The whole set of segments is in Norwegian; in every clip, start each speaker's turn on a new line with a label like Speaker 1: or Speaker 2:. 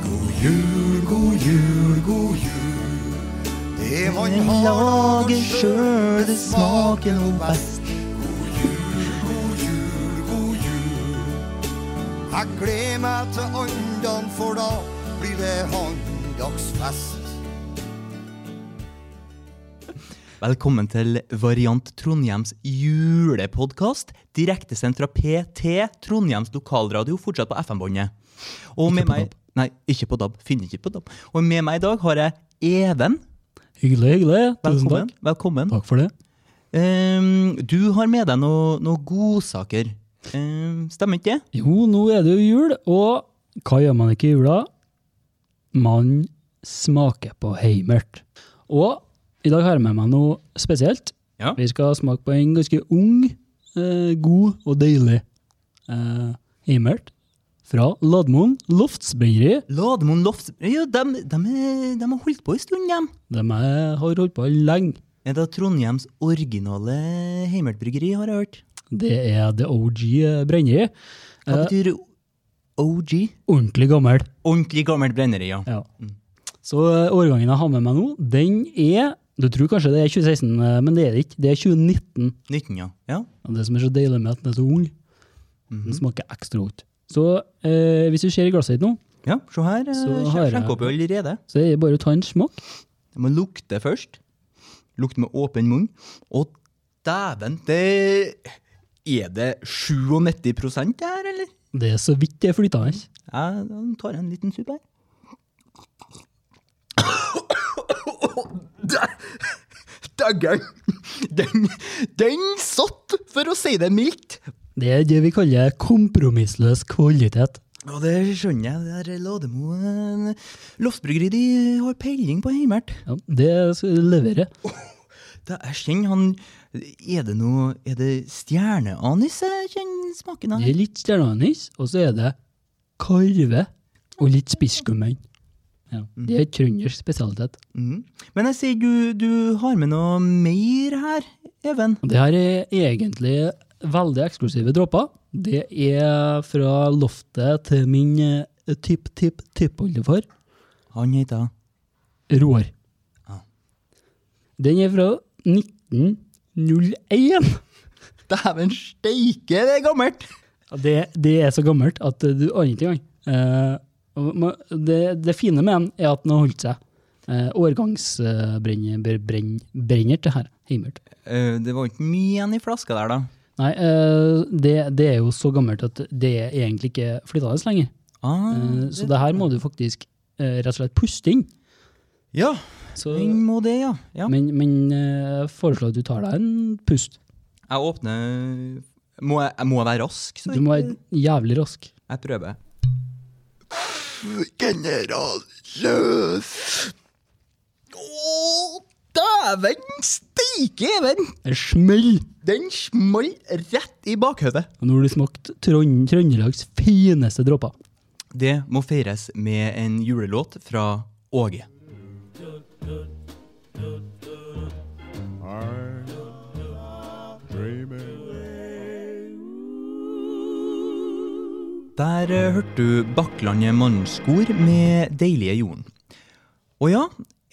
Speaker 1: Jul, god jul, god jul. Det man
Speaker 2: Jeg lager sjøl, det smaker noe best.
Speaker 1: God jul, god jul, god jul. Jeg gleder meg til andan, for da blir det andagsfest.
Speaker 2: Velkommen til Variant Trondheims julepodkast, direktesendt fra PT, Trondheims lokalradio, fortsatt på FM-båndet. Og med meg Nei, ikke på DAB. Finner ikke på DAB. Og med meg i dag har jeg Even.
Speaker 3: Hyggelig, hyggelig. Tusen
Speaker 2: Velkommen.
Speaker 3: takk.
Speaker 2: Velkommen.
Speaker 3: Takk for det.
Speaker 2: Ehm, du har med deg noen noe godsaker. Ehm, stemmer ikke det?
Speaker 3: Jo, nå er det jo jul, og hva gjør man ikke i jula? Man smaker på heimert. Og i dag har jeg med meg noe spesielt.
Speaker 2: Ja.
Speaker 3: Vi skal smake på en ganske ung, eh, god og deilig eh, heimert fra Ladmoen Loftsbrenneri.
Speaker 2: Lademoen Loft Jo, de, har holdt på en stund, dem.
Speaker 3: De er- har holdt på lenge.
Speaker 2: Er det Trondheims originale heimeltbryggeri, har jeg hørt?
Speaker 3: Det er The OG Brenneri.
Speaker 2: Hva
Speaker 3: Eh.
Speaker 2: betyr OG?
Speaker 3: Ordentlig gammel.
Speaker 2: Ordentlig gammelt brenneri, ja.
Speaker 3: Ja. Så eh, årgangen jeg har med meg nå, den er Du tror kanskje det er 2016, eh, men det er det ikke. Det er 2019.
Speaker 2: 19, ja. ja.
Speaker 3: Og det som er så deilig med at den er så ung, den smaker ekstra godt. Så eh, hvis du ser i glasset ditt nå,
Speaker 2: Ja, se her.
Speaker 3: Så
Speaker 2: eh,
Speaker 3: har jeg-
Speaker 2: Skjenk opp allerede.
Speaker 3: så er det bare å ta en smak.
Speaker 2: Jeg må lukte først. Lukte med åpen munn. Å, dæven, det Er det 97 det her, eller?
Speaker 3: Det er så vidt det er flytende.
Speaker 2: Jeg tar en liten sup her. Dæggen! Den, den satt, for å si det mildt.
Speaker 3: Det er det vi kaller kompromissløs kvalitet.
Speaker 2: Og det skjønner jeg. Det der Lademo Loftbryggeri de har peiling på heimert.
Speaker 3: Ja, det skal vi levere.
Speaker 2: Da, jeg kjenner han Er det noe Er det stjerneanis jeg kjenner smaken av?
Speaker 3: Det er litt stjerneanis, og så er det karve og litt spisskummen. Ja, det er trøndersk spesialitet.
Speaker 2: Mhm. Men jeg ser du, du har med noe mer her, Even.
Speaker 3: Og Det her er egentlig veldig eksklusive dråper. Det er fra loftet til min eh, tipp-tipp-tippoldefar,
Speaker 2: Han heter
Speaker 3: Roar.
Speaker 2: Ja.
Speaker 3: Den er fra 1901.
Speaker 2: Dæven steike, det er gammelt!
Speaker 3: Ja, Det, det er så gammelt at du aner ikke engang. Eh, og ma- det, det fine med den er at den har holdt seg. Eh, Årgangsbrenner til her. Heimert.
Speaker 2: Eh, det var ikke mye igjen i flaska der, da.
Speaker 3: Nei, eh, det, det er jo så gammelt at det er egentlig ikke flytende lenger.
Speaker 2: Ah,
Speaker 3: Eh, Så det her må du faktisk eh, rett og slett puste inn.
Speaker 2: ja,
Speaker 3: Så,
Speaker 2: den må det, ja. ja.
Speaker 3: men men eh, foreslår at du tar deg en pust.
Speaker 2: Jeg åpner Må jeg, jeg må være rask? Så
Speaker 3: Du må være jævlig rask.
Speaker 2: Jeg prøver. General Løs! Å, dæven steike, Even!
Speaker 3: Smell!
Speaker 2: Den smalt rett i bakhodet.
Speaker 3: Og nå har du smakt Trond- Trøndelags fineste dråper.
Speaker 2: Det må feires med en julelåt fra Åge.
Speaker 1: I'm dreaming.
Speaker 2: Der eh, hørte du Bakklandet mannskor med Deilige Jon. Og ja,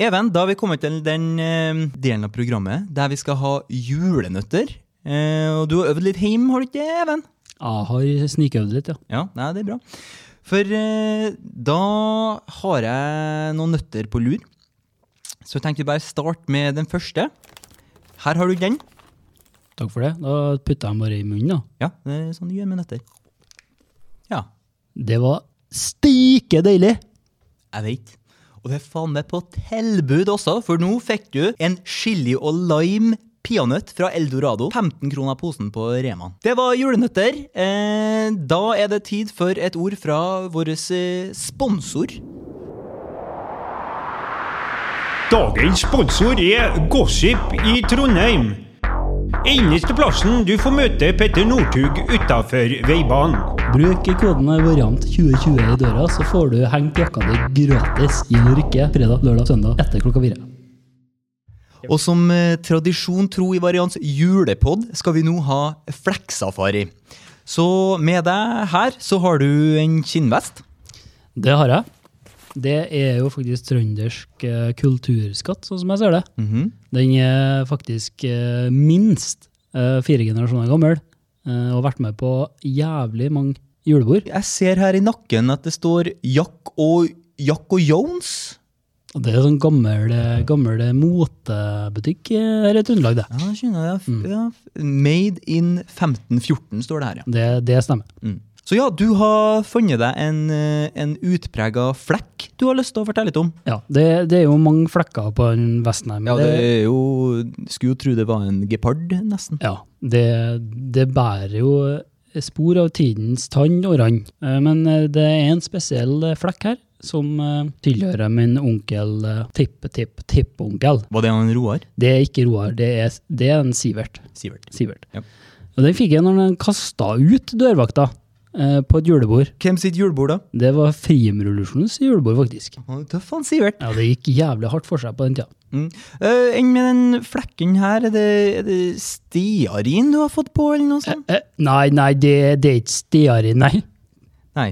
Speaker 2: Even, da har vi kommet til den eh, delen av programmet der vi skal ha julenøtter. Eh, og du har øvd litt heim, har du ikke det, Even?
Speaker 3: Jeg har snikøvd litt, ja.
Speaker 2: Ja, nei, det er bra. For eh, da har jeg noen nøtter på lur. Så jeg tenkte vi bare starte med den første. Her har du den.
Speaker 3: Takk for det. Da putta jeg den bare i munnen, da.
Speaker 2: Ja, det er sånn du gjør med nøtter. Ja,
Speaker 3: Det var steike deilig!
Speaker 2: jeg vet. Og det er faen meg på tilbud også, for nå fikk du en chili og lime peanøtt fra Eldorado. 15 kroner posen på Rema. Det var julenøtter. Eh, da er det tid for et ord fra vår eh, sponsor.
Speaker 4: Dagens sponsor er Gossip i Trondheim. Eneste plassen du får møte Petter Northug utafor veibanen.
Speaker 3: Bruk koden variant 2020 i døra, så får du hengt jakka di gratis i Norge fredag, lørdag, søndag etter klokka fire.
Speaker 2: Og som eh, tradisjon tro i Variants julepod skal vi nå ha flekksafari. Så med deg her så har du en kinnvest.
Speaker 3: Det har jeg. Det er jo faktisk trøndersk eh, kulturskatt, sånn som jeg ser det.
Speaker 2: Mhm.
Speaker 3: Den er faktisk eh, minst eh, fire generasjoner gammel, eh, og har vært med på jævlig mange julebord.
Speaker 2: Jeg ser her i nakken at det står Jack og, Jack og Jones.
Speaker 3: Og det er sånn gammel, eh, gammel motebutikk eh, her i Trøndelag, det.
Speaker 2: Ja, jeg skjønner det. Ja, made in 1514 står det her, ja.
Speaker 3: det. Det stemmer.
Speaker 2: Mm. Så ja, du har funnet deg en, eh, en utprega flekk du har lyst til å fortelle litt om.
Speaker 3: Ja, det, det er jo mange flekker på den vesten her. men
Speaker 2: Ja, det er jo Skulle jo tro det var en gepard, nesten.
Speaker 3: Ja, det, det bærer jo eh, spor av tidens tann og rand. Eh, Men eh, det er en spesiell eh, flekk her, som eh, tilhører min onkel eh, tippe-tipp-tipponkel.
Speaker 2: Var det han Roar?
Speaker 3: Det er ikke Roar, det er, det er en Sivert.
Speaker 2: Sivert.
Speaker 3: Sivert.
Speaker 2: Ja.
Speaker 3: Og den fikk jeg når den kasta ut dørvakta eh, på et julebord.
Speaker 2: Hvem sitt julebord, da?
Speaker 3: Det var Friemrevolusjonens julebord, faktisk.
Speaker 2: Han er tøff, han Sivert.
Speaker 3: Ja, Det gikk jævlig hardt for seg på den tida.
Speaker 2: Mm. Eh, Enn med den flekken her, er det, er det stearin du har fått på, eller noe sånt?
Speaker 3: Eh, nei, nei, det, det er ikke stearin, nei.
Speaker 2: Eh, Nei.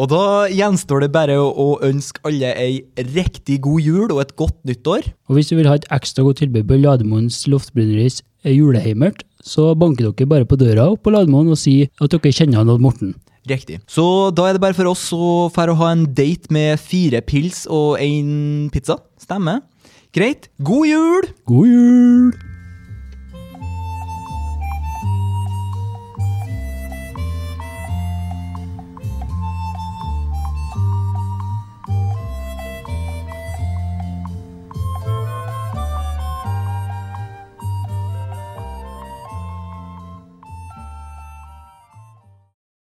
Speaker 2: Og da gjenstår det bare å, å ønske alle ei riktig god jul og et godt nyttår.
Speaker 3: Og hvis du vil ha et ekstra godt tilbud på Lademoens Loftbrenneris juleheimert, så banker dere bare på døra opp på Lademoen og sier at dere kjenner han Odd Morten.
Speaker 2: Riktig. Så da er det bare for oss å fære å ha en date med fire pils og én pizza. Stemmer. Greit. God jul!
Speaker 3: God jul!